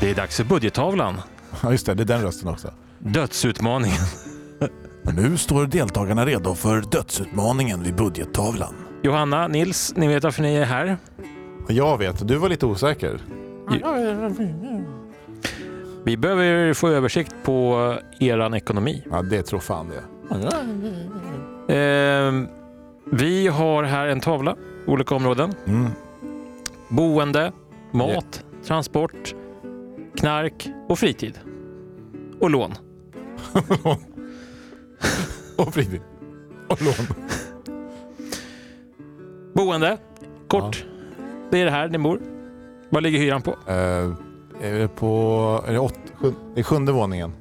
Det är dags för budgettavlan. Ja, just det. Det är den rösten också. Dödsutmaningen. Men nu står deltagarna redo för dödsutmaningen vid budgettavlan. Johanna, Nils, ni vet varför ni är här. Jag vet, du var lite osäker. Vi behöver få översikt på eran ekonomi. Ja, det tror fan det. Ehm, vi har här en tavla, olika områden. Mm. Boende, mat, transport, knark och fritid. Och lån. Och fritid. Och lån. Boende, kort. Det är det här ni bor. Vad ligger hyran på? Eh, är det på... Är det, åt, sju, det är sjunde våningen?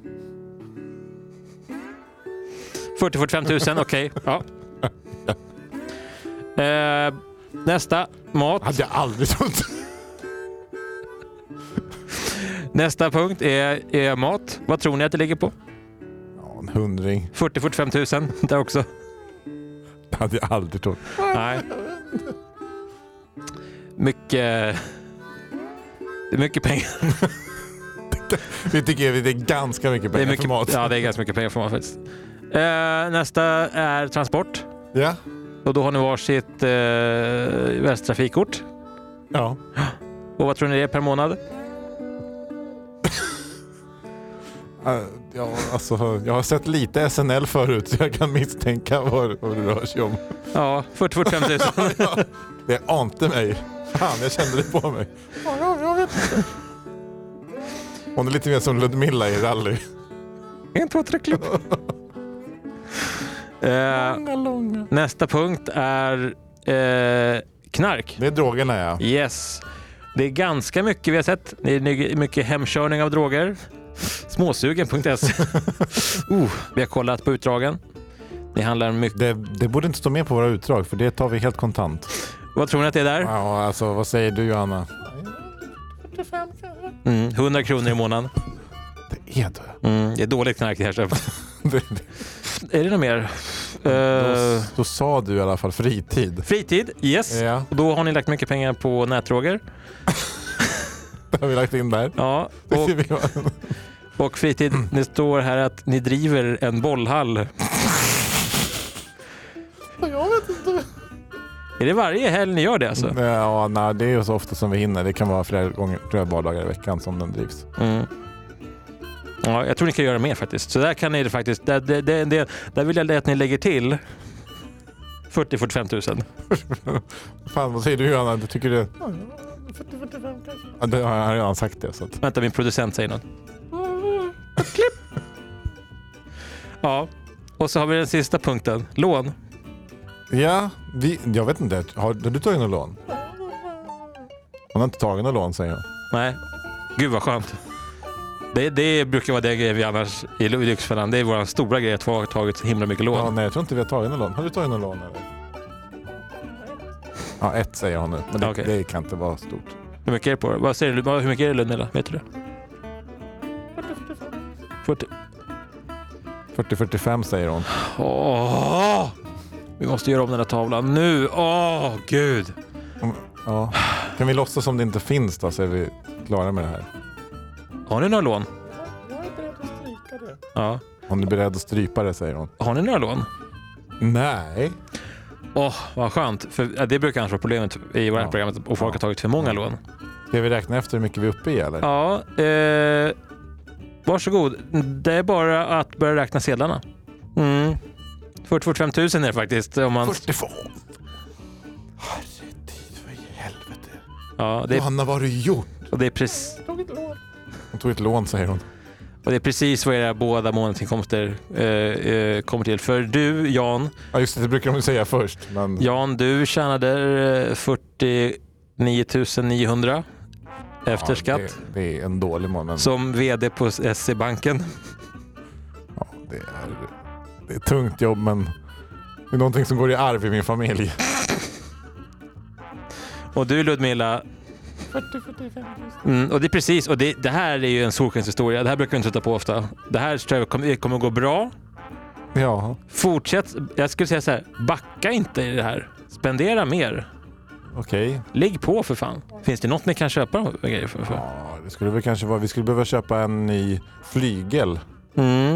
40-45 000, okej. Ja. Eh, nästa, mat. Hade jag aldrig trott. Nästa punkt är, är mat. Vad tror ni att det ligger på? Ja, en hundring. 40-45 000 där också. Det hade jag aldrig trott. Nej. Mycket... Det är mycket pengar. Det tycker jag det är ganska mycket Det pengar är mycket, för mat. Ja, det är ganska mycket pengar för mat faktiskt. Eh, nästa är transport. Ja. Och då har ni varsitt eh, Västtrafikkort. ja. Och vad tror ni det är per månad? Eh, ja alltså, jag har sett lite SNL förut så jag kan misstänka vad, vad det rör sig om. Ja, 40-45 000. Det ante mig. Fan, jag kände det på mig. Hon är lite mer som Ludmilla i rally. En, två, tre, klipp. Eh, nästa punkt är eh, knark. Det är drogerna ja. Yes. Det är ganska mycket vi har sett. Det är ny- mycket hemkörning av droger. Småsugen.se. oh, vi har kollat på utdragen. Det handlar mycket... Det, det borde inte stå med på våra utdrag för det tar vi helt kontant. Vad tror ni att det är där? Ja, alltså vad säger du Johanna? Mm, 100 kronor i månaden. Det är det. Mm, det är dåligt knark det här. så- Är det något mer? Då, Eh, då sa du i alla fall fritid. fritid, yes. Ja, Och då har ni lagt mycket pengar på nätdroger. det har vi lagt in där. Ja, Det och ser vi. Och fritid, det står här att ni driver en bollhall. Jag vet inte. Är det varje helg ni gör det alltså? Ja, nej, det är ju så ofta som vi hinner. Det kan vara flera gånger, flera vardagar i veckan som den drivs. Mm. Ja, jag tror ni kan göra mer faktiskt. Så där kan ni det faktiskt. Där, det, det, det, där vill jag att ni lägger till 40-45 000. Fan, vad säger du Johanna? Du tycker det... Ja, det har jag redan sagt det. Så att... Vänta, min producent säger något. Klipp! Ja, och så har vi den sista punkten. Lån. Ja, vi, jag vet inte. Har, har du tagit något lån? Hon har inte tagit något lån säger hon. Nej. Gud vad skönt. Det, det brukar vara det grejen vi annars i Lyxfällan. Det är vår stora grej att vi har tagit så himla mycket Ja, lån. nej, jag tror inte vi har tagit något lån. Har du tagit något lån eller? Ja, ett säger hon nu. Men det, Okej. det kan inte vara stort. Hur mycket är det på det? Vad säger du? Vad- Hur mycket är det Ludmilla? Vet du det? 40. 40-45 säger hon. Åh! Vi måste göra om den här tavlan nu. Åh, gud. Ja. Kan vi låtsas som det inte finns då så är vi klara med det här. Har ni några lån? Jag är beredd att stryka det. Ja. Hon är beredd att strypa det säger hon. Har ni några lån? Nej. Åh, vad skönt. För ja, det brukar annars vara problemet i vårt Ja. program att folk har tagit för många lån. Ska vi räkna efter hur mycket vi är uppe i eller? Ja, eh, varsågod. Det är bara att börja räkna sedlarna. Mm. 40-45 000 är det faktiskt. Om man, 42. Herretid för i helvete. ja, det, är, Johanna, vad har du gjort? och, det är precis, Tog ett lån. Hon tog ett lån säger hon. och det är precis vad era båda månadsinkomster eh, eh, kommer till. För du, Jan, Ja just det, det brukar de ju säga först. Men Jan du tjänade eh, 49 900 efter Ja, skatt. Det, det är en dålig månad. Som VD på SE-banken. Ja, det, är, det är ett tungt jobb men det är någonting som går i arv i min familj. Och du Ludmilla, 40-45 000. Mm, och det är precis, och det, det här är ju en solskenshistoria. Det här brukar vi inte sätta på ofta. Det här tror jag kommer, kommer gå bra. Ja. Fortsätt, jag skulle säga så här, backa inte i det här. Spendera mer. Okej. Lägg på för fan. Finns det något ni kan köpa grejer för? för? Ja, det skulle väl kanske vara... Vi skulle behöva köpa en ny flygel. Mm.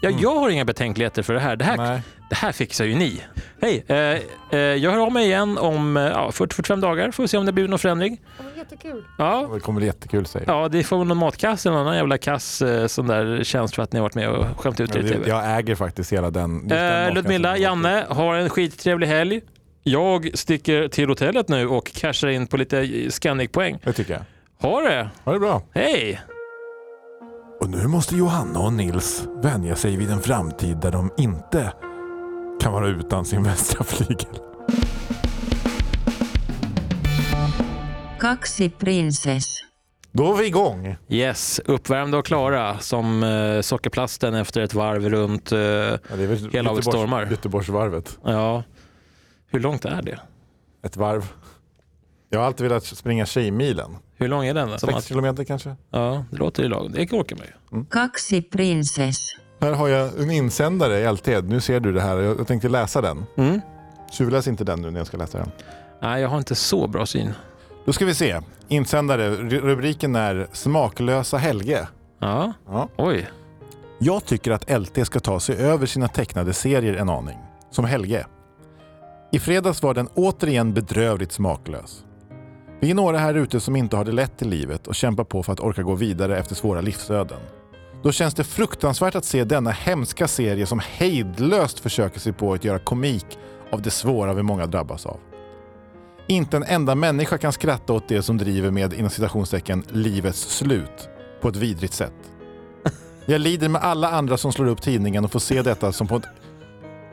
Ja, Mm. jag har inga betänkligheter för det här. Det här, Nej. det här fixar ju ni. Hej, eh, eh, jag hör av mig igen om eh, ja, 40-45 dagar. Får vi se om det blir någon förändring. Ja, men jättekul. Ja, Det kommer bli jättekul säger ja det får väl någon matkass eller någon annan jävla kass eh, sån där tjänst för att ni har varit med och skämt ut er Men i det- tv. Jag äger faktiskt hela den. just den Eh, Ludmilla, matkassen. Janne, har en skittrevlig helg. Jag sticker till hotellet nu och cashar in på lite Scandic-poäng. Det tycker jag. Ha det! Ha det bra. Hej! Och nu måste Johanna och Nils vänja sig vid en framtid där de inte kan vara utan sin vänstra flygel. Kaksi prinsess. Då är vi igång. Yes, uppvärmda och klara som eh, sockerplasten efter ett varv runt. Eh, Ja, det är väl Hela laget stormar. Göteborgsvarvet. ja, hur långt är det? Ett varv. Jag har alltid velat springa Tjejmilen. Hur lång är den? då? Som Sex att, kilometer kanske. ja, det låter ju lagom. Det orkar man ju. Kaksi prinsess. Här har jag en insändare i LT. Nu ser du det här. Jag jag tänkte läsa den. Mm. Tjuvläs inte den nu när jag ska läsa den. Nej, jag har inte så bra syn. Då ska vi se. Insändare. Ru- Rubriken är Smaklösa Helge. Ja, Ja. oj. Jag tycker att LT ska ta sig över sina tecknade serier en aning. Som Helge. I fredags var den återigen bedrövligt smaklös. Vi är några här ute som inte har det lätt i livet och kämpar på för att orka gå vidare efter svåra livsöden. Då känns det fruktansvärt att se denna hemska serie som hejdlöst försöker sig på att göra komik av det svåra vi många drabbas av. Inte en enda människa kan skratta åt det som driver med inom citationstecken livets slut på ett vidrigt sätt. Jag lider med alla andra som slår upp tidningen och får se detta som på ett,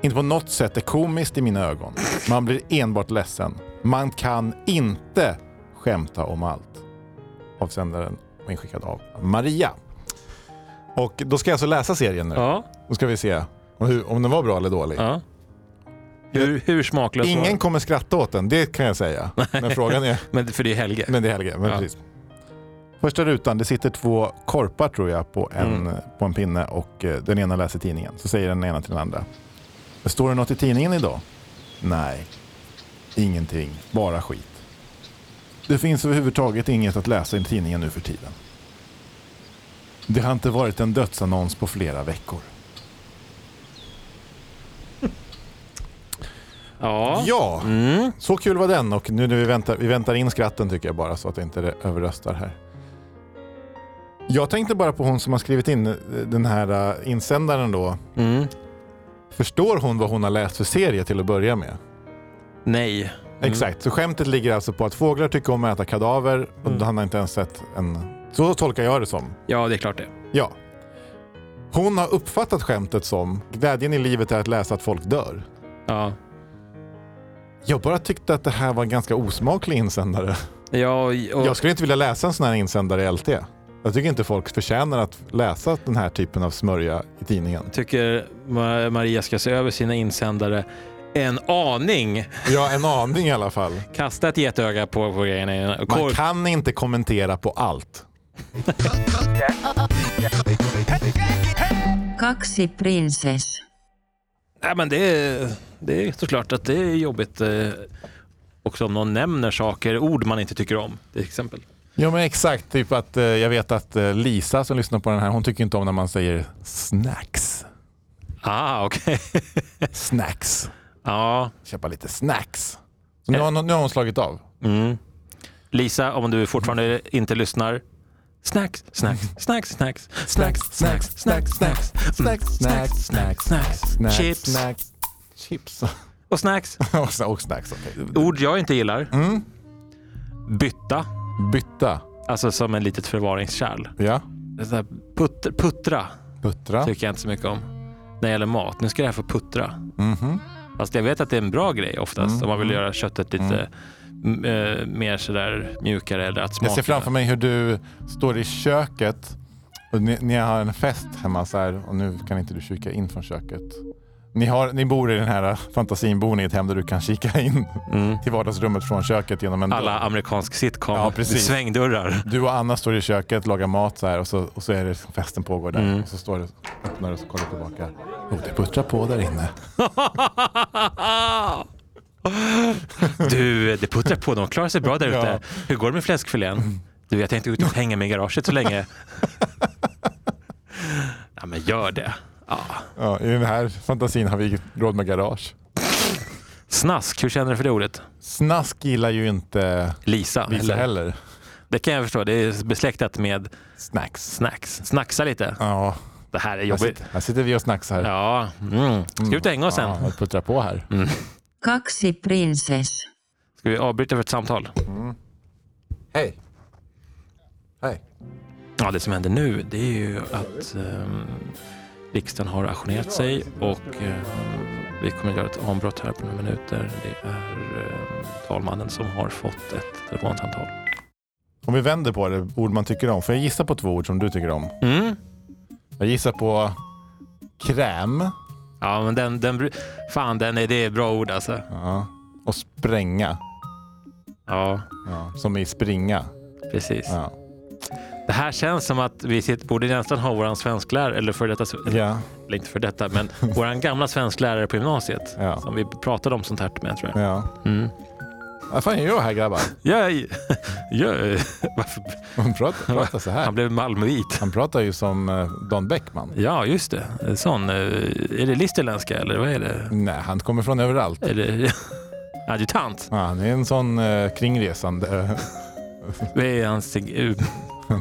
inte på något sätt är komiskt i mina ögon. Man blir enbart ledsen. Man kan inte skämta om allt. Avsändaren var inskickad av Maria. Och då ska jag alltså läsa serien nu. Ja, Då ska vi se om, hur, om den var bra eller dålig. ja. Hur, hur smaklös var Ingen den? kommer skratta åt den, det kan jag säga. Men frågan är... Men För det är Helge. Men det är Helge, men Ja. precis. Första rutan, det sitter två korpar tror jag på en, Mm. på en pinne och eh, den ena läser tidningen. Så säger den ena till den andra. Står det något i tidningen idag? Nej, ingenting, bara skit. Det finns överhuvudtaget inget att läsa i tidningen nu för tiden. Det har inte varit en dödsannons på flera veckor. Ja. Ja, Mm. så kul var den och nu när vi väntar, vi väntar in skratten tycker jag bara så att inte det överröstar här. Jag tänkte bara på hon som har skrivit in eh, den här eh, insändaren då. Mm. Förstår hon vad hon har läst för serie till att börja med? Nej. Mm. Exakt, så skämtet ligger alltså på att fåglar tycker om att äta kadaver och Mm. han har inte ens sett en... Så tolkar jag det som. Ja, det är klart det. Ja. Hon har uppfattat skämtet som glädjen i livet är att läsa att folk dör. Ja. Jag bara tyckte att det här var en ganska osmaklig insändare. Ja, och, Jag skulle inte vilja läsa en sån här insändare i LT. Jag tycker inte folk förtjänar att läsa den här typen av smörja i tidningen. tycker Ma- Maria ska se över sina insändare en aning. Ja, en aning i alla fall. Kasta ett getöga på, på grejerna. innan- Man Korp- kan inte kommentera på allt. Kaksi prinsess. Nej, men det, är- det är såklart att det är jobbigt eh, också om någon nämner saker, ord man inte tycker om till exempel. Ja, men exakt. Typ att eh, jag vet att eh, Lisa som lyssnar på den här, hon tycker inte om när man säger snacks. Ah, okej. Snacks. ja. Köpa lite snacks. Så Eh. nu, har, hon- nu har hon slagit av. Mm. Lisa, om du fortfarande inte lyssnar. Snacks, snacks, snacks, snacks, snacks, snacks, snacks, snacks, snacks, snacks, snacks, snacks, chips Snacks. Chips. och snacks. och sna- och snacks, okej. Ord jag inte gillar. Mm. Bytta, Bytta. alltså som en litet förvaringskärl. Ja. Det är så här putt, puttra Puttra. tycker jag inte så mycket om när det gäller mat. Nu ska det här få puttra. Mhm. Fast jag vet att det är en bra grej oftast Mm. om man vill göra köttet lite m- eh, mer sådär mjukare eller att smaka. Jag ser framför mig hur du står i köket och ni, ni har en fest hemma så här och nu kan inte du kika in från köket. Ni, har, ni bor i den här fantasin, bor ni i ett hem där du kan kika in mm. till vardagsrummet från köket genom en Alla dörr. amerikansk sitcom, Ja, ja, precis. svängdörrar. Du och Anna står i köket, lagar mat så här och så, och så är det festen pågår där. Mm. Och så står du, öppnar och så kollar tillbaka. Oh, det puttrar på där inne. Du, det puttrar på. De klarar sig bra där ute. Ja. Hur går det med fläskfilén? Du, jag tänkte ut och hänga mig i garaget så länge. Ja, men gör det. Ja. Ja, I den här fantasin har vi råd med garage. Snask, hur känner du för det ordet? Snask gillar ju inte Lisa. Lisa eller? heller. Det kan jag förstå. Det är besläktat med Snacks. snacks. Snacksa lite. Ja, Det här är här jobbigt. sitter, här sitter vi och snacksar. Ja. Mm. Ska vi ut och hänga oss sen? Ja, och puttrar på här. kaksi prinsess, Ska vi avbryta för ett samtal? Mm. Hej. Hej. Ja, det som händer nu det är ju att ehm, riksdagen har ajournerat sig och eh, vi kommer att göra ett avbrott här på några minuter. Det är ehm, talmannen som har fått ett telefonsamtal. Om vi vänder på det, ord man tycker om. Får jag gissa på två ord som du tycker om? Mm. Jag gissar på kräm Ja, men den, den... bru- Fan, den är, det är bra ord alltså. ja. och spränga. Ja, Ja. Som i springa. precis. Ja. Det här känns som att vi sitter, borde nästan ha vår svensklärare, eller för detta, eller Ja. inte för detta, men vår gamla svensklärare på gymnasiet. Ja. Som vi pratade om sånt här med tror jag. ja. Mm. Vad fan gör jag här grabbar? Ja, ja, varför? Han pratar, pratar så Han här. blev Malmöit. Han pratar ju som eh, Dan Bäckman. Ja, just det. En sån. eh, Är det listerländska eller vad är det? Nej, han kommer från överallt. Är det adjutant? Ja, han är en sån eh, kringresande. Vad är hans... eh,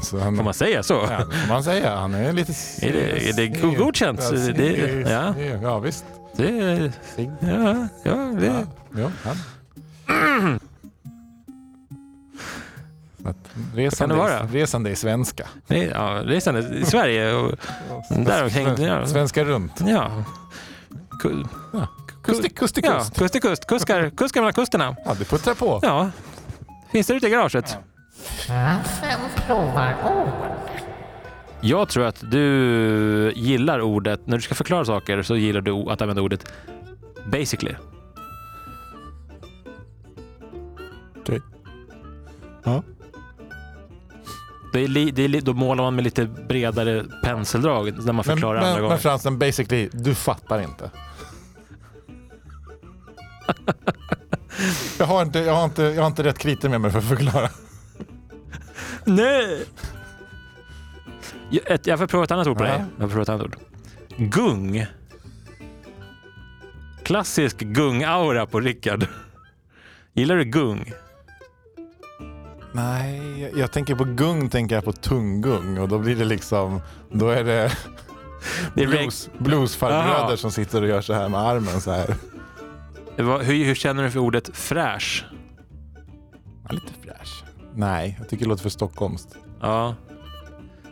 så han, Får man säga så? ja, får man säga. Han är lite... Är det, är det godkänt? Ja, Det, ja, ja visst. det, ja, ja, Ja, det. ja, han. Så att resande, Vad kan det vara? i- resande i svenska. det- Ja, resan i Sverige och där omkring. Ja, Svenska runt. ja. Ku- Kust, till- kust till ja, kust. kust till kust. Kuskar, kuskar mellan kusterna. Ja, det puttrar på. Ja. Finns det ute i garaget? Jag tror att du gillar ordet, när du ska förklara saker så gillar du att använda ordet basically. Okej. Ja. Det är li, det är li, då målar man med lite bredare penseldrag när man Men, förklarar andra men, men gånger. Fransen, basically, du fattar inte. Jag har inte, jag har inte, jag har inte rätt kriter med mig för att förklara. Nej! Jag, ett, jag får prova ett annat ord på dig. Ja. Jag får prova ett annat ord. Gung. Klassisk gung-aura på Rickard. Gillar du gung? Nej, jag- jag tänker på gung, tänker jag på tunggung och då blir det liksom, då är det, Det är blues, bluesfarbröder Aha. som sitter och gör så här med armen så här. Vad- Hur, hur känner du för ordet fräsch? Ja, lite fräsch. Nej, jag tycker det låter för stockholmskt. Ja.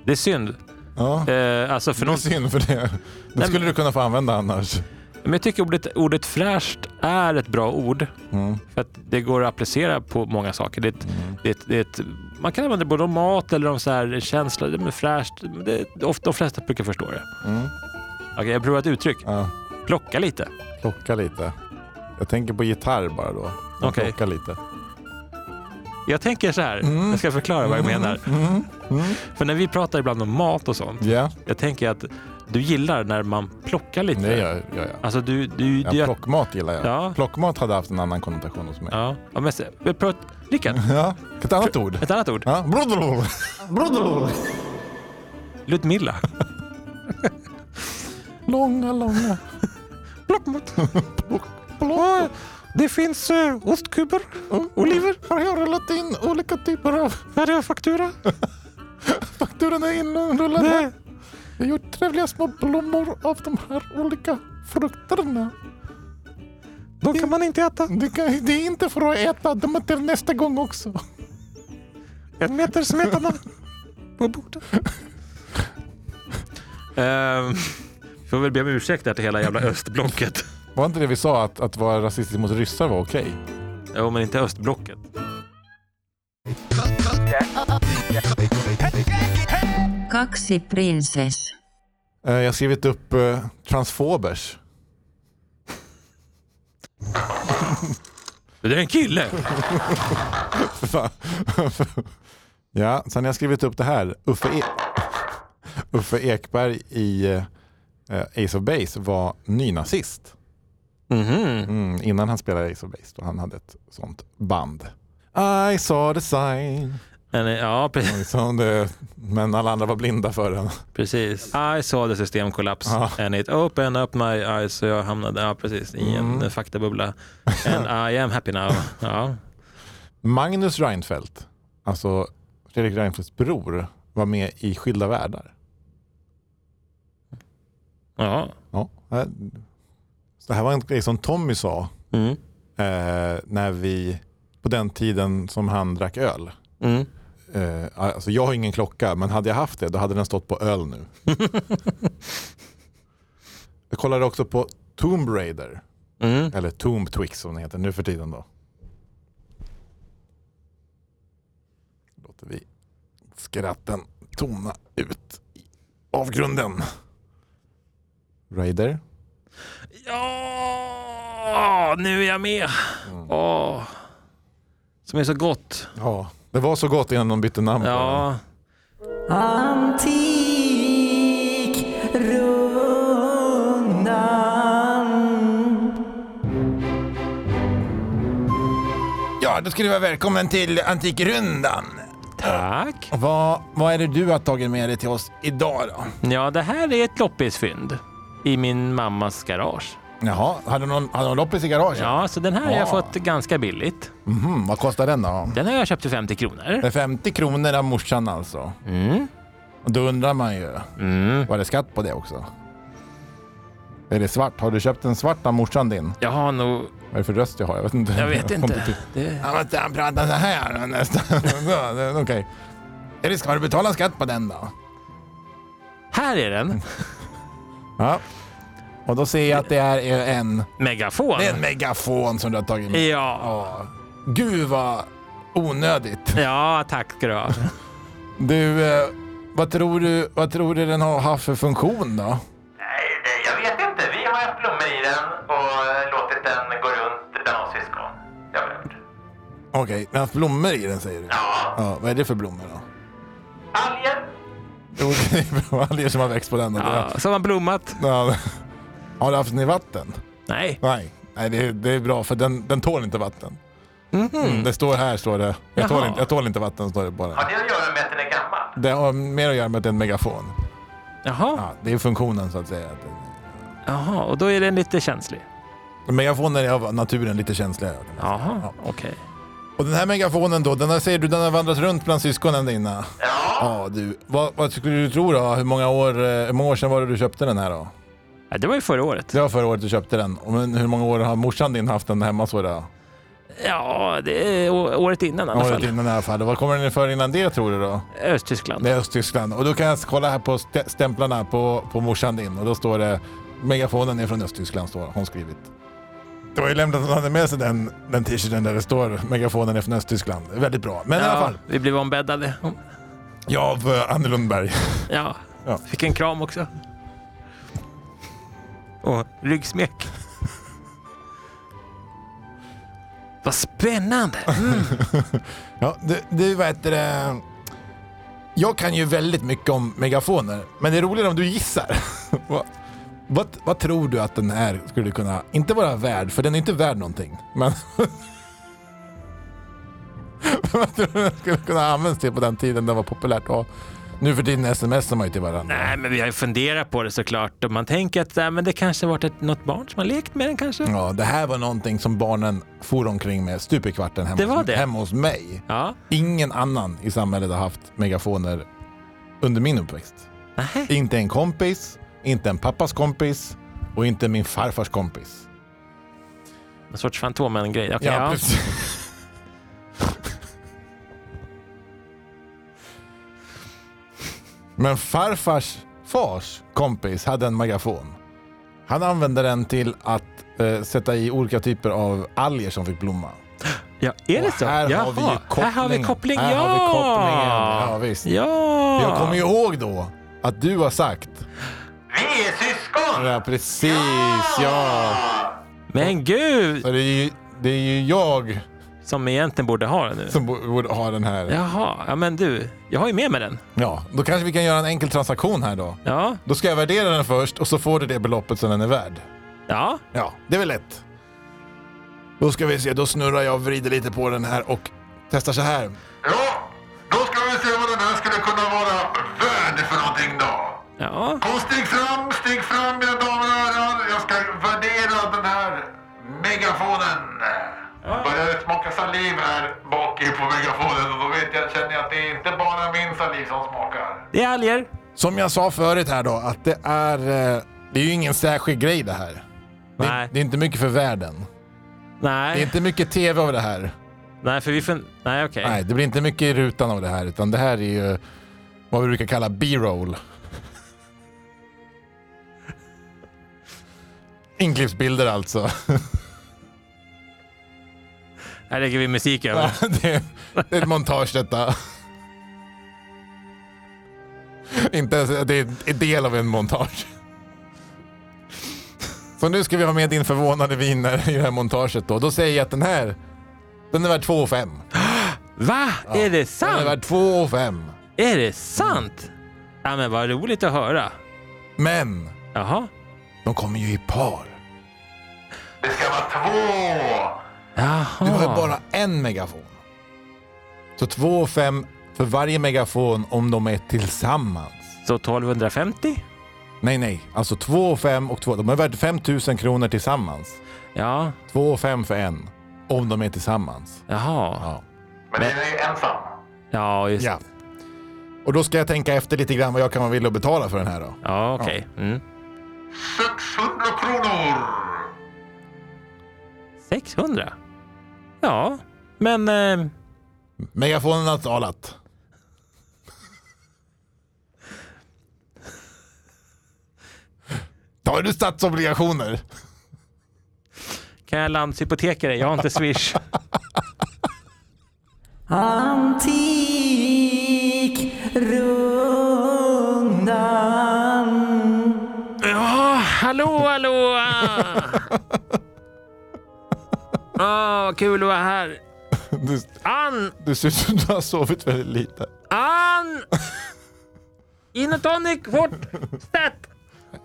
Det är synd. Ja, Eh, alltså för det är någon, synd för det. Det men- skulle du kunna få använda annars. men jag tycker ordet, ordet fräscht är ett bra ord. Mm. För att det går att applicera på många saker. Det är ett, det är ett, det är ett, man kan använda det både om mat eller om så här känsla. Det är fräscht. men Det, ofta, de flesta brukar förstå det. Mm. Okej, jag provar ett uttryck. Ja. Plocka lite. Plocka lite. Jag tänker på gitarr bara då. Jag Okej. Plocka lite. Jag tänker så här. Jag ska förklara vad jag menar. Mm. Mm. För när vi pratar ibland om mat och sånt. Ja, Jag tänker att du gillar när man plockar lite. det gör gör jag. Alltså du... du, Ja, du Plockmat gillar jag. Ja. Plockmat hade haft en annan konnotation hos mig. Ja, ja men se- vi pratar, Rickard, Ja. Ett annat ord. ett annat ord. Ja. Brodolol. Brodolol. Ludmilla. Långa, långa. Plockmat. Ja, Det finns eh, ostkuber, oliver, Har jag rullat in olika typer av... här är faktura. Eh, Fakturan är inrullad här. Nej. Jag har gjort trevliga små blommor av de här olika frukterna. De kan man inte äta. Det, kan, det är inte för att äta, de är till nästa gång också. En meter smetana på bordet. Ehm, får väl be om ursäkt där till hela jävla östblocket. Var inte det vi sa att, att vara rasistisk mot ryssar var okej? Jo, men inte östblocket. kaksi prinsess, Eh, Jag har skrivit upp eh, transfobers. Det är en kille! Fan. ja, sen har jag skrivit upp det här. Uffe, e- Uffe Ekberg i eh, Ace of Base var nynazist. Mhm. Mm, innan han spelade Ace of Base då han hade ett sånt band. I saw the sign. Men, eh, Ja, pre- Och så det- Men alla andra var blinda för den. precis. I saw the system collapse Ja. and it opened up my eyes. Så jag hamnade ja, precis, i en Mm. eh, faktabubbla. And I am happy now. Ja. Magnus Reinfeldt, alltså Fredrik Reinfeldts bror, var med i Skilda världar. ja. Ja. eh, Så det här var en grej som Tommy sa Mm. eh, när vi, på den tiden som han drack öl. Mm. Eh, alltså jag har ingen klocka, men hade jag haft det då hade den stått på öl nu. Jag kollade också på Tomb Raider, Mm. eller Tomb Twix som den heter nu för tiden då. Låter vi skratten tona ut i avgrunden. Raider. ja, nu är jag med. Mm. Åh. Som är så gott. Ja, det var så gott innan de bytte namn på den. Ja. Ja, då ska du vara välkommen till Antikrundan. Tack. Vad, vad är det du har tagit med dig till oss idag då? Ja, det här är ett loppisfynd i min mammas garage. Jaha, hade någon, hade någon loppis i garaget? Ja, så den här har jag Ah. fått ganska billigt. Mhm, vad kostar den då? Den har jag köpt för 50 kronor. Det är 50 kronor av morsan alltså. Mm. Och Då undrar man ju, Mm. var det skatt på det också? Är det svart? Har du köpt en svart av morsan din? Jag har nog... Vad är det för röst jag har? Jag vet inte. Jag vet kom inte. till- Det, Han måste han prata så här nästan. Så, det- Okej. Är det, ska du betala skatt på den då? här är den. Ja. Och då ser jag att det är en, Megafon. det är en megafon som du har tagit med. Ja. Ja. Gud vad onödigt. ja, tack ska du ha. Du, eh, vad tror du, vad tror du den har haft för funktion då? Nej, det- jag vet inte. Vi har haft blommor i den och eh, låtit den gå runt bland oss syskon. Det har vi gjort. Okej, den har haft blommor i den säger du? Ja. ja vad är det för blommor då? Alger? Jo, det är bra alger som har växt på den. och det- Ja, som har blommat. Ja. Har du haft den i vatten? Nej. Nej, Nej det, är, det är bra för den, den tål inte vatten. Mm, det står här, står det. Jag tål, Mhm. Jaha. inte, jag tål inte vatten, står det bara. Har det att göra med att den är gammal? Det har mer att göra med att det är en megafon. Jaha. Ja, det är funktionen så att säga. Att den- Jaha, och då är den lite känslig. Megafoner är av naturen lite känsliga. kan man säga. Jaha, okej. Och den här megafonen då, den här, säger du den har vandrat runt bland syskonen dina? Ja. Ja du, vad, vad skulle du tro då? Hur många, år, eh, hur många år sedan var det du köpte den här då? Ja, det var ju förra året. Det var förra året du köpte den. Och Men hur många år har morsan din haft den hemma så då? Ja, det är å- året innan i alla Året fall. innan i alla fall. Och Vad kommer den för innan det tror du då? Östtyskland. Det är Östtyskland. Och då kan jag kolla här på stä- stämplarna på, på morsan din och då står det megafonen är från Östtyskland står hon skrivit. Det var ju lämpligt att hon hade med sig den, den t-shirten där det står megafonen är från Östtyskland. Det är Väldigt bra. Men i alla Ja, fall, vi blev ombäddade. jag av eh, Anne Lundberg. Ja. Ja. Fick en kram också. Och ryggsmek. Vad spännande! Mm. Ja, du, du vad heter det? Jag kan ju väldigt mycket om megafoner, men det är roligare om du gissar. vad, vad, vad tror du att den här skulle kunna, inte vara värd, för den är inte värd någonting, men vad tror du den skulle kunna användas till på den tiden det var populärt? Och nu för tiden smsar man ju till varandra. Nej, men vi har ju funderat på det såklart. Och man tänker att äh, men det kanske varit ett, något barn som har lekt med den kanske. Ja, det här var någonting som barnen for omkring med stup i kvarten hemma, Det var hos- det. hemma hos mig. Ja. Ingen annan i samhället har haft megafoner under min uppväxt. Nähä. Inte en kompis, inte en pappas kompis och inte min farfars kompis. Någon sorts Fantomen-grej. Okej, ja. precis. Men farfars fars kompis hade en megafon. Han använde den till att eh, sätta i olika typer av alger som fick blomma. ja. Är det Och så? Här har, Jaha. vi ju Här har vi koppling. Här ja! har vi kopplingen. Ja, visst. Ja! Jag kommer ju ihåg då att du har sagt. Vi är syskon! Ja, precis. ja. Men gud! Så det är ju, det är ju jag Som egentligen borde ha den nu. som bo- borde ha den här. Ja. Jaha, ja men du. Jag har ju med mig den. då kanske vi kan göra en enkel transaktion här då. Ja, Då ska jag värdera den först och så får du det beloppet som den är värd. Ja, Ja, det är väl lätt. Då ska vi se, då snurrar jag och vrider lite på den här och testar så här. Ja, då ska vi se vad den här skulle kunna vara värd för någonting då. ja. Kom, stig fram, stig fram mina damer och herrar. Jag ska värdera den här megafonen. Jag börjar smaka saliv här bak i på megafonen och då vet jag, känner jag att det är inte bara min saliv som smakar. Det är alger. Som jag sa förut här då, att det är... eh, Det är ju ingen särskild grej det här. Nej, Det är inte mycket för världen. Det är nej, inte mycket tv av det här. nej, för vi fun- Nej, okej. Nej, det blir inte mycket i rutan av det här, utan det här är ju vad vi brukar kalla B-roll. Inklippsbilder alltså. Här lägger vi musik över. det, är, det är ett montage detta. Inte ens, det är en del av en montage. Så nu ska vi ha med din förvånade viner i det här montaget då. Då säger jag att den här, den är värd 2 5. Va? Är det Den är sant? värd 2 5. Är det sant? Ja, men vad roligt att höra. Men Jaha. de kommer ju i par. Det ska vara två. Jaha. Du har ju bara en megafon. Så 2 5 för varje megafon om de är tillsammans. Så 1250? Nej, nej. Alltså 2 5 och 2. De är värd 5 000 kronor tillsammans. Ja, 2 5 för en. Om de är tillsammans. jaha. Ja. Men den är ju ensam. Ja, just ja. Och då ska jag tänka efter lite grann vad jag kan vara villig att betala för den här då. Ja, okej. Mm. 600 kronor. 600? Ja, men... Eh, Megafonen har talat. Tar du statsobligationer? kan jag landshypoteka dig? Jag har inte swish. Antikrundan. Ja, hallå, hallå! Ah, vad kul att vara här. Du, Ann! du ser ut som du har sovit väldigt lite. Ann! In och tonic, fort! Stat!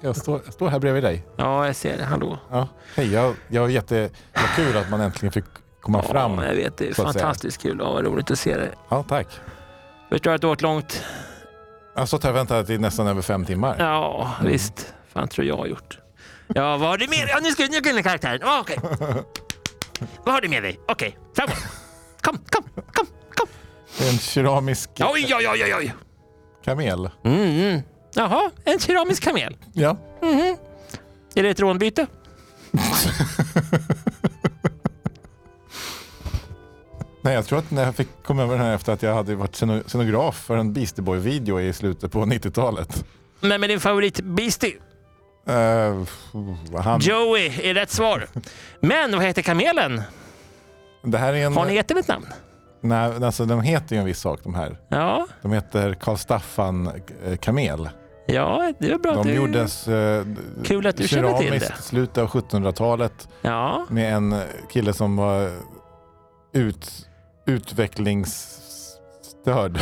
Jag står, jag står här bredvid dig. Ja, jag ser det. Hallå. Ja. Hej, jag, jag var jätte, vad kul att man äntligen fick komma fram. Ja, jag vet, det är så att säga. fantastiskt kul. Ja, vad roligt att se dig. Ja, tack. Alltså, Förstår att du åt långt. Jag har stått här och väntat i nästan över fem timmar. Ja, Mm. visst. Fan tror jag har gjort. Ja, vad har du med dig? Ja, nu ska nu ska den karaktären. Ja, Okej. Vad har du med dig? Okej, framåt. Kom, kom, kom, kom. Det är en keramisk Oj, oj, oj, oj, oj. kamel. Mm. Jaha, en keramisk kamel. Ja. Är det ett rånbyte? Nej, jag tror att när jag fick komma över den här efter att jag hade varit sceno- scenograf för en Beastie Boy-video i slutet på 90-talet. Nej, men din favorit Beastie, Eh, f- han, Joey, är rätt svar. Men vad heter kamelen? det här är en... Har ni gett den ett namn? Nej, alltså de heter ju en viss sak de här. Ja, De heter Karl Staffan eh, Kamel. ja det var bra att De du... gjordes eh, d- Kul att du känner till det. keramiskt slutet av 1700-talet Ja, med en kille som var ut, utvecklingsstörd.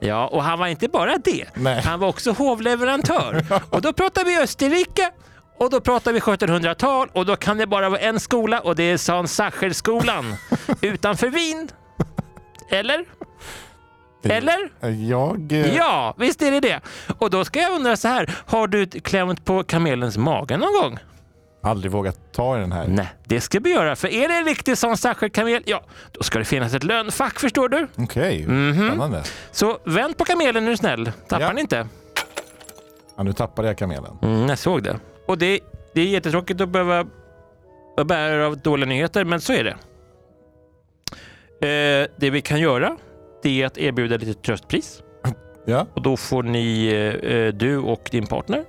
ja, och han var inte bara det. Nej. Han var också hovleverantör. Och då pratar vi Österrike. Och då pratar vi 1700-tal och då kan det bara vara en skola och det är San Sacherskolan utanför Wien. Eller? Eller? Jag... eh, Ja, visst är det det. Och då ska jag undra så här, har du klämt på kamelens mage någon gång? aldrig vågat ta i den här. Nej, det ska vi göra. För är det en riktig San Sacher-kamel, ja, då ska det finnas ett lönfack förstår du. Okej, Mhm. spännande. Så vänd på kamelen är du snäll. Tappar Ja. den inte. Ja, nu tappade jag kamelen. Mm, jag såg det. Och det, det är jättetråkigt att behöva vara bärare av dåliga nyheter, men så är det. Eh, det vi kan göra, det är att erbjuda lite tröstpris. Ja. Och då får ni, eh, du och din partner,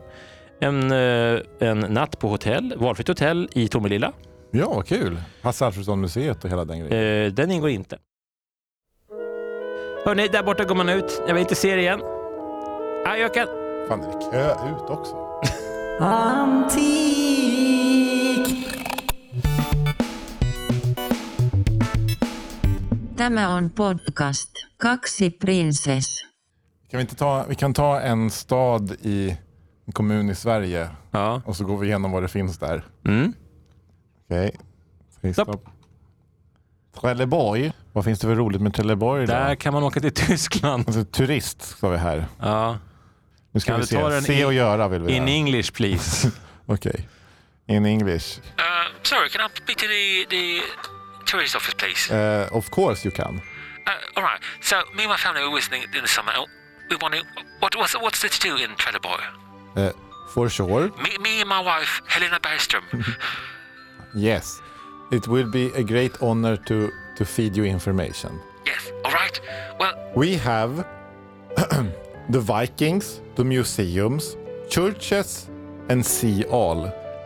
en, eh, en natt på hotell, valfritt hotell i Tomelilla. Ja, vad kul. Hasse Alfredson-museet och hela den grejen. Eh, den ingår inte. Hörni, där borta går man ut. Jag vill inte se er igen. Ajöken! Fan, det är kö ut också. Antik. Tämä on podcast Kaksi Princess. Kan vi inte ta, vi kan ta en stad i en kommun i Sverige Ja. och så går vi igenom vad det finns där. Mm. Okej. Säg Stopp. stopp. Trelleborg. Vad finns det för roligt med Trelleborg? då? Där kan man åka till Tyskland. Alltså, turist sa vi här. Ja. Nu ska Kan vi vi ta se. den Se i- och göra vill vi In göra. English please. Okej. In English. Uh, sorry, can I speak to the, the tourist office, please? Eh, of course you can. Uh, all right. So, me and my family were visiting in the summer. and We want to. What, what's, what's there to do in Trelleborg? Eh, for sure. Me, me and my wife, Helena Bergström. Yes. It will be a great honor to, to feed you information. yes. All right. Well, We have the Vikings, the museums, churches and see all.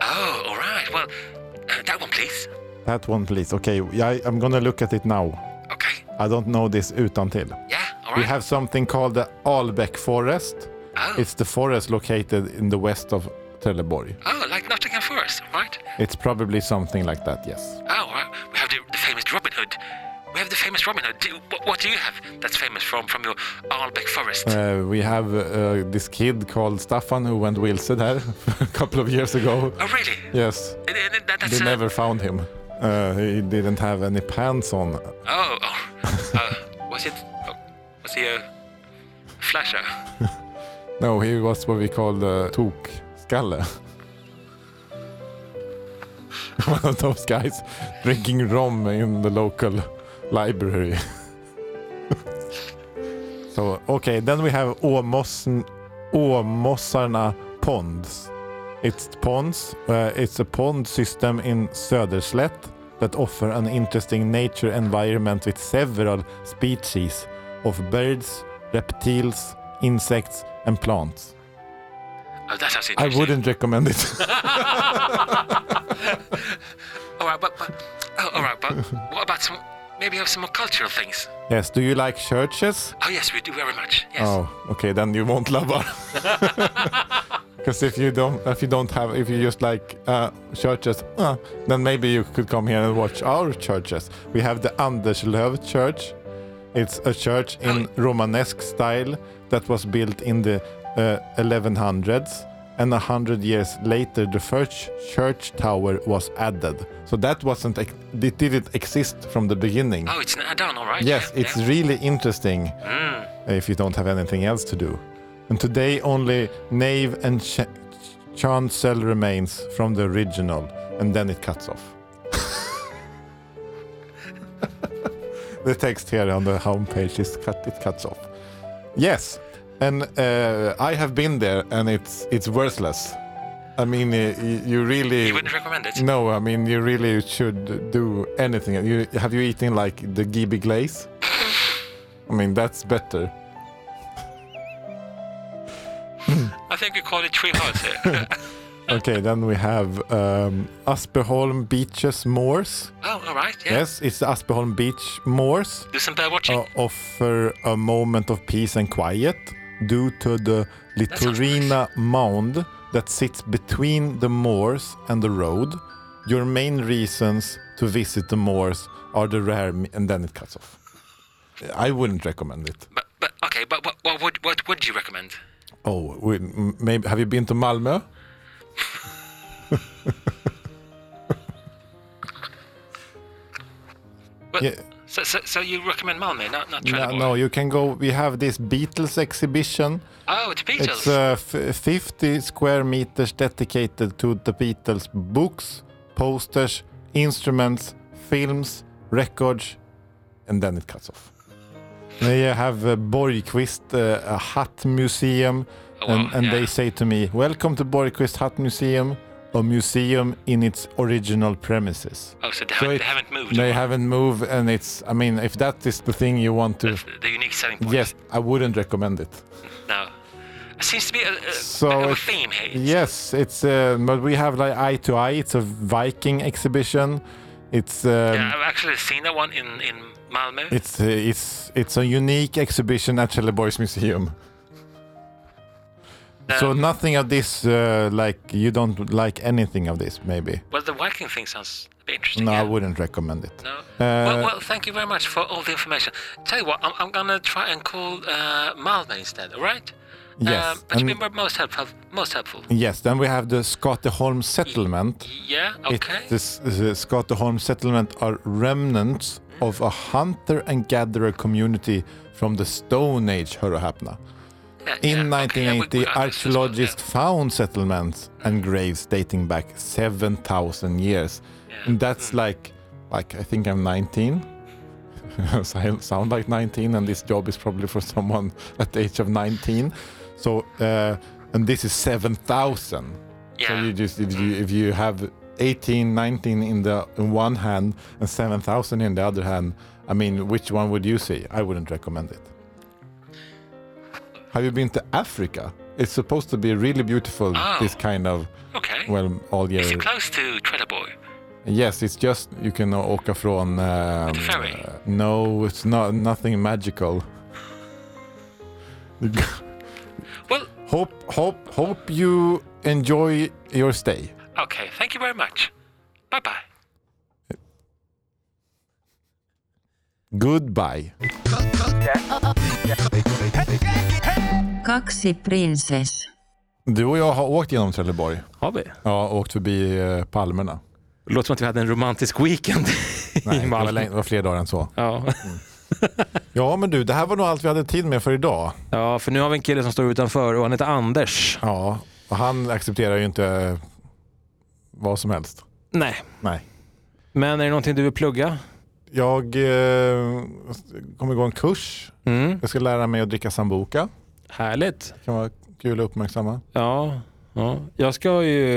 oh, all right. Well, uh, that one, please. That one please. Okay, I, I'm gonna look at it now. Okay. I don't know this utantill. Yeah. All We right. have something called the Albeck Forest. oh, It's the forest located in the west of Trelleborg. oh, like Nottingham Forest, all right? It's probably something like that, yes. Oh, all right. We have the, the famous Robin Hood. We have the famous Robin Hood. Do, what, what do you have that's famous from from your Arlbeck Forest? Uh, we have uh, this kid called Staffan who went wilson there a couple of years ago. oh, really? Yes, Uh, uh, that- that's they uh, never found him. Uh, he didn't have any pants on. Oh, oh. Uh, was it? Oh, was he a flasher? No, he was what we call the tokskalle. One of those guys drinking rum in the local library. so, okay, then we have Åmossen, Åmossarna ponds. It's ponds. Uh, it's a pond system in Söderslätt that offer an interesting nature environment with several species of birds, reptiles, insects and plants. Oh, that sounds I interesting. wouldn't recommend it. All right, but, but oh, all right, but what about some? Maybe have some more cultural things. yes, do you like churches? Oh yes, we do very much. Yes. Oh, okay, then you won't love her. Because if you don't, if you don't have, if you just like uh, churches, uh, then maybe you could come here and watch our churches. We have the Anderslöv Church. It's a church in Romanesque style that was built in the uh, 1100s, and a hundred years later, the first church tower was added. So that wasn't, ex- it didn't exist from the beginning. Oh, it's an add-on, all right. Yes, Yeah, it's yeah. really interesting if you don't have anything else to do. And today only nave and ch- ch- chancel remains from the original, and then it cuts off. the text here on the homepage is cut. It cuts off. Yes, and uh, I have been there, and it's it's worthless. I mean, uh, y- you really You wouldn't recommend it? no, I mean you really should do anything. You, have you eaten like the Gibi glaze? I mean that's better. I think we call it three hearts here. Okay, then we have um, Asperholm Beaches Moors. oh, all right. Yeah. Yes, it's the Asperholm Beach Moors. Do some bird watching. Uh, offer a moment of peace and quiet due to the sounds Litorina mound that sits between the moors and the road. Your main reasons to visit the moors are the rare, mi- and then it cuts off. I wouldn't recommend it. But but okay, but what what would what would you recommend? Oh, we, m- maybe have you been to Malmö? Well, Yeah. So, so so you recommend Malmö, not not No, Trelleborg? no, you can go. We have this Beatles exhibition. Oh, it's It's Beatles. uh, f- 50 square meters dedicated to the Beatles books, posters, instruments, films, records, and then it cuts off. They have a Borgqvist uh, a hat museum, Oh, wow, and, and yeah. they say to me, Welcome to Borgqvist Hat Museum, a museum in its original premises. oh, so they So haven't, it- they haven't moved. They haven't moved, and it's, I mean, if that is the thing you want to, That's the unique selling point. yes, I wouldn't recommend it. No. It seems to be a, a, So a bit of a it's- theme here. Yes, it's uh, but we have like eye to eye. It's a Viking exhibition. It's um, yeah, I've actually seen that one in, in Malmö. it's uh, it's it's a unique exhibition at Trelleborgs Museum. so Um, nothing of this uh, like you don't like anything of this maybe. well, the Viking thing sounds a bit interesting. No, I yeah. wouldn't recommend it. No. Uh, well, well, thank you very much for all the information. Tell you what, I'm, I'm going to try and call uh, Malmö instead, all right? Yes. Uh, but And- you remember most helpful. Most helpful. Yes, then we have the Skateholm settlement. Yeah. Okay. It's the, s- the Skateholm settlement are remnants of a hunter and gatherer community from the Stone Age, hör och häpna. Yeah, yeah, In okay, yeah, we- 1980, we understood well, yeah. archaeologists found settlements and graves dating back 7,000 years. And that's Hmm. like, like I think I'm 19. so I sound like 19, and this job is probably for someone at the age of 19. So, uh, and this is 7,000. So Yeah. Mm. you just if you if you have 18, 19 in the in one hand and 7,000 in the other hand, I mean, which one would you say? I wouldn't recommend it. Have you been to Africa? It's supposed to be really beautiful. Oh. This kind of okay. well all Is year. it close to Trelleborg? Yes, it's just you can åka från. Um, the ferry? uh, no, it's not nothing magical. Well, hope hope hope you enjoy your stay. okay. Thank you very much. Bye bye. Goodbye. Kaksi prinsess. Du och jag har åkt genom Trelleborg. Har vi? Ja, åkt förbi eh, palmerna. Det låter som att vi hade en romantisk weekend Nej, i det var, Malmö. läng- det var fler dagar än så. Ja. Ja, men du, det här var nog allt vi hade tid med för idag. ja, för nu har vi en kille som står utanför och han heter Anders. Ja, och han accepterar ju inte eh, vad som helst. Nej, Nej. men är det någonting du vill plugga? Jag eh, kommer gå en kurs. Mm. Jag ska lära mig att dricka sambuca. Härligt. Det kan vara kul att uppmärksamma. Ja, ja. Jag ska ju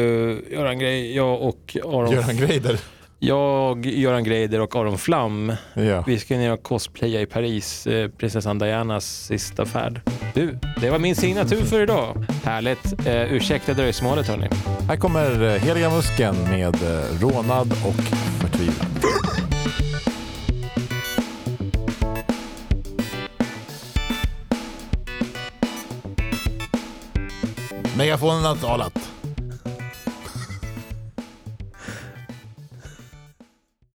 göra en grej, jag och Aron... Göran Greider. Jag, Göran Greider och Aron Flam. Ja. Vi ska ner och cosplaya i Paris, eh, prinsessan Dianas sista färd. Du, det var min signatur för idag. Härligt. Eh, ursäkta dröjsmålet hörni. Här kommer eh, Heliga Musken med eh, Rånad och Förtvivlan. Megafonen har talat.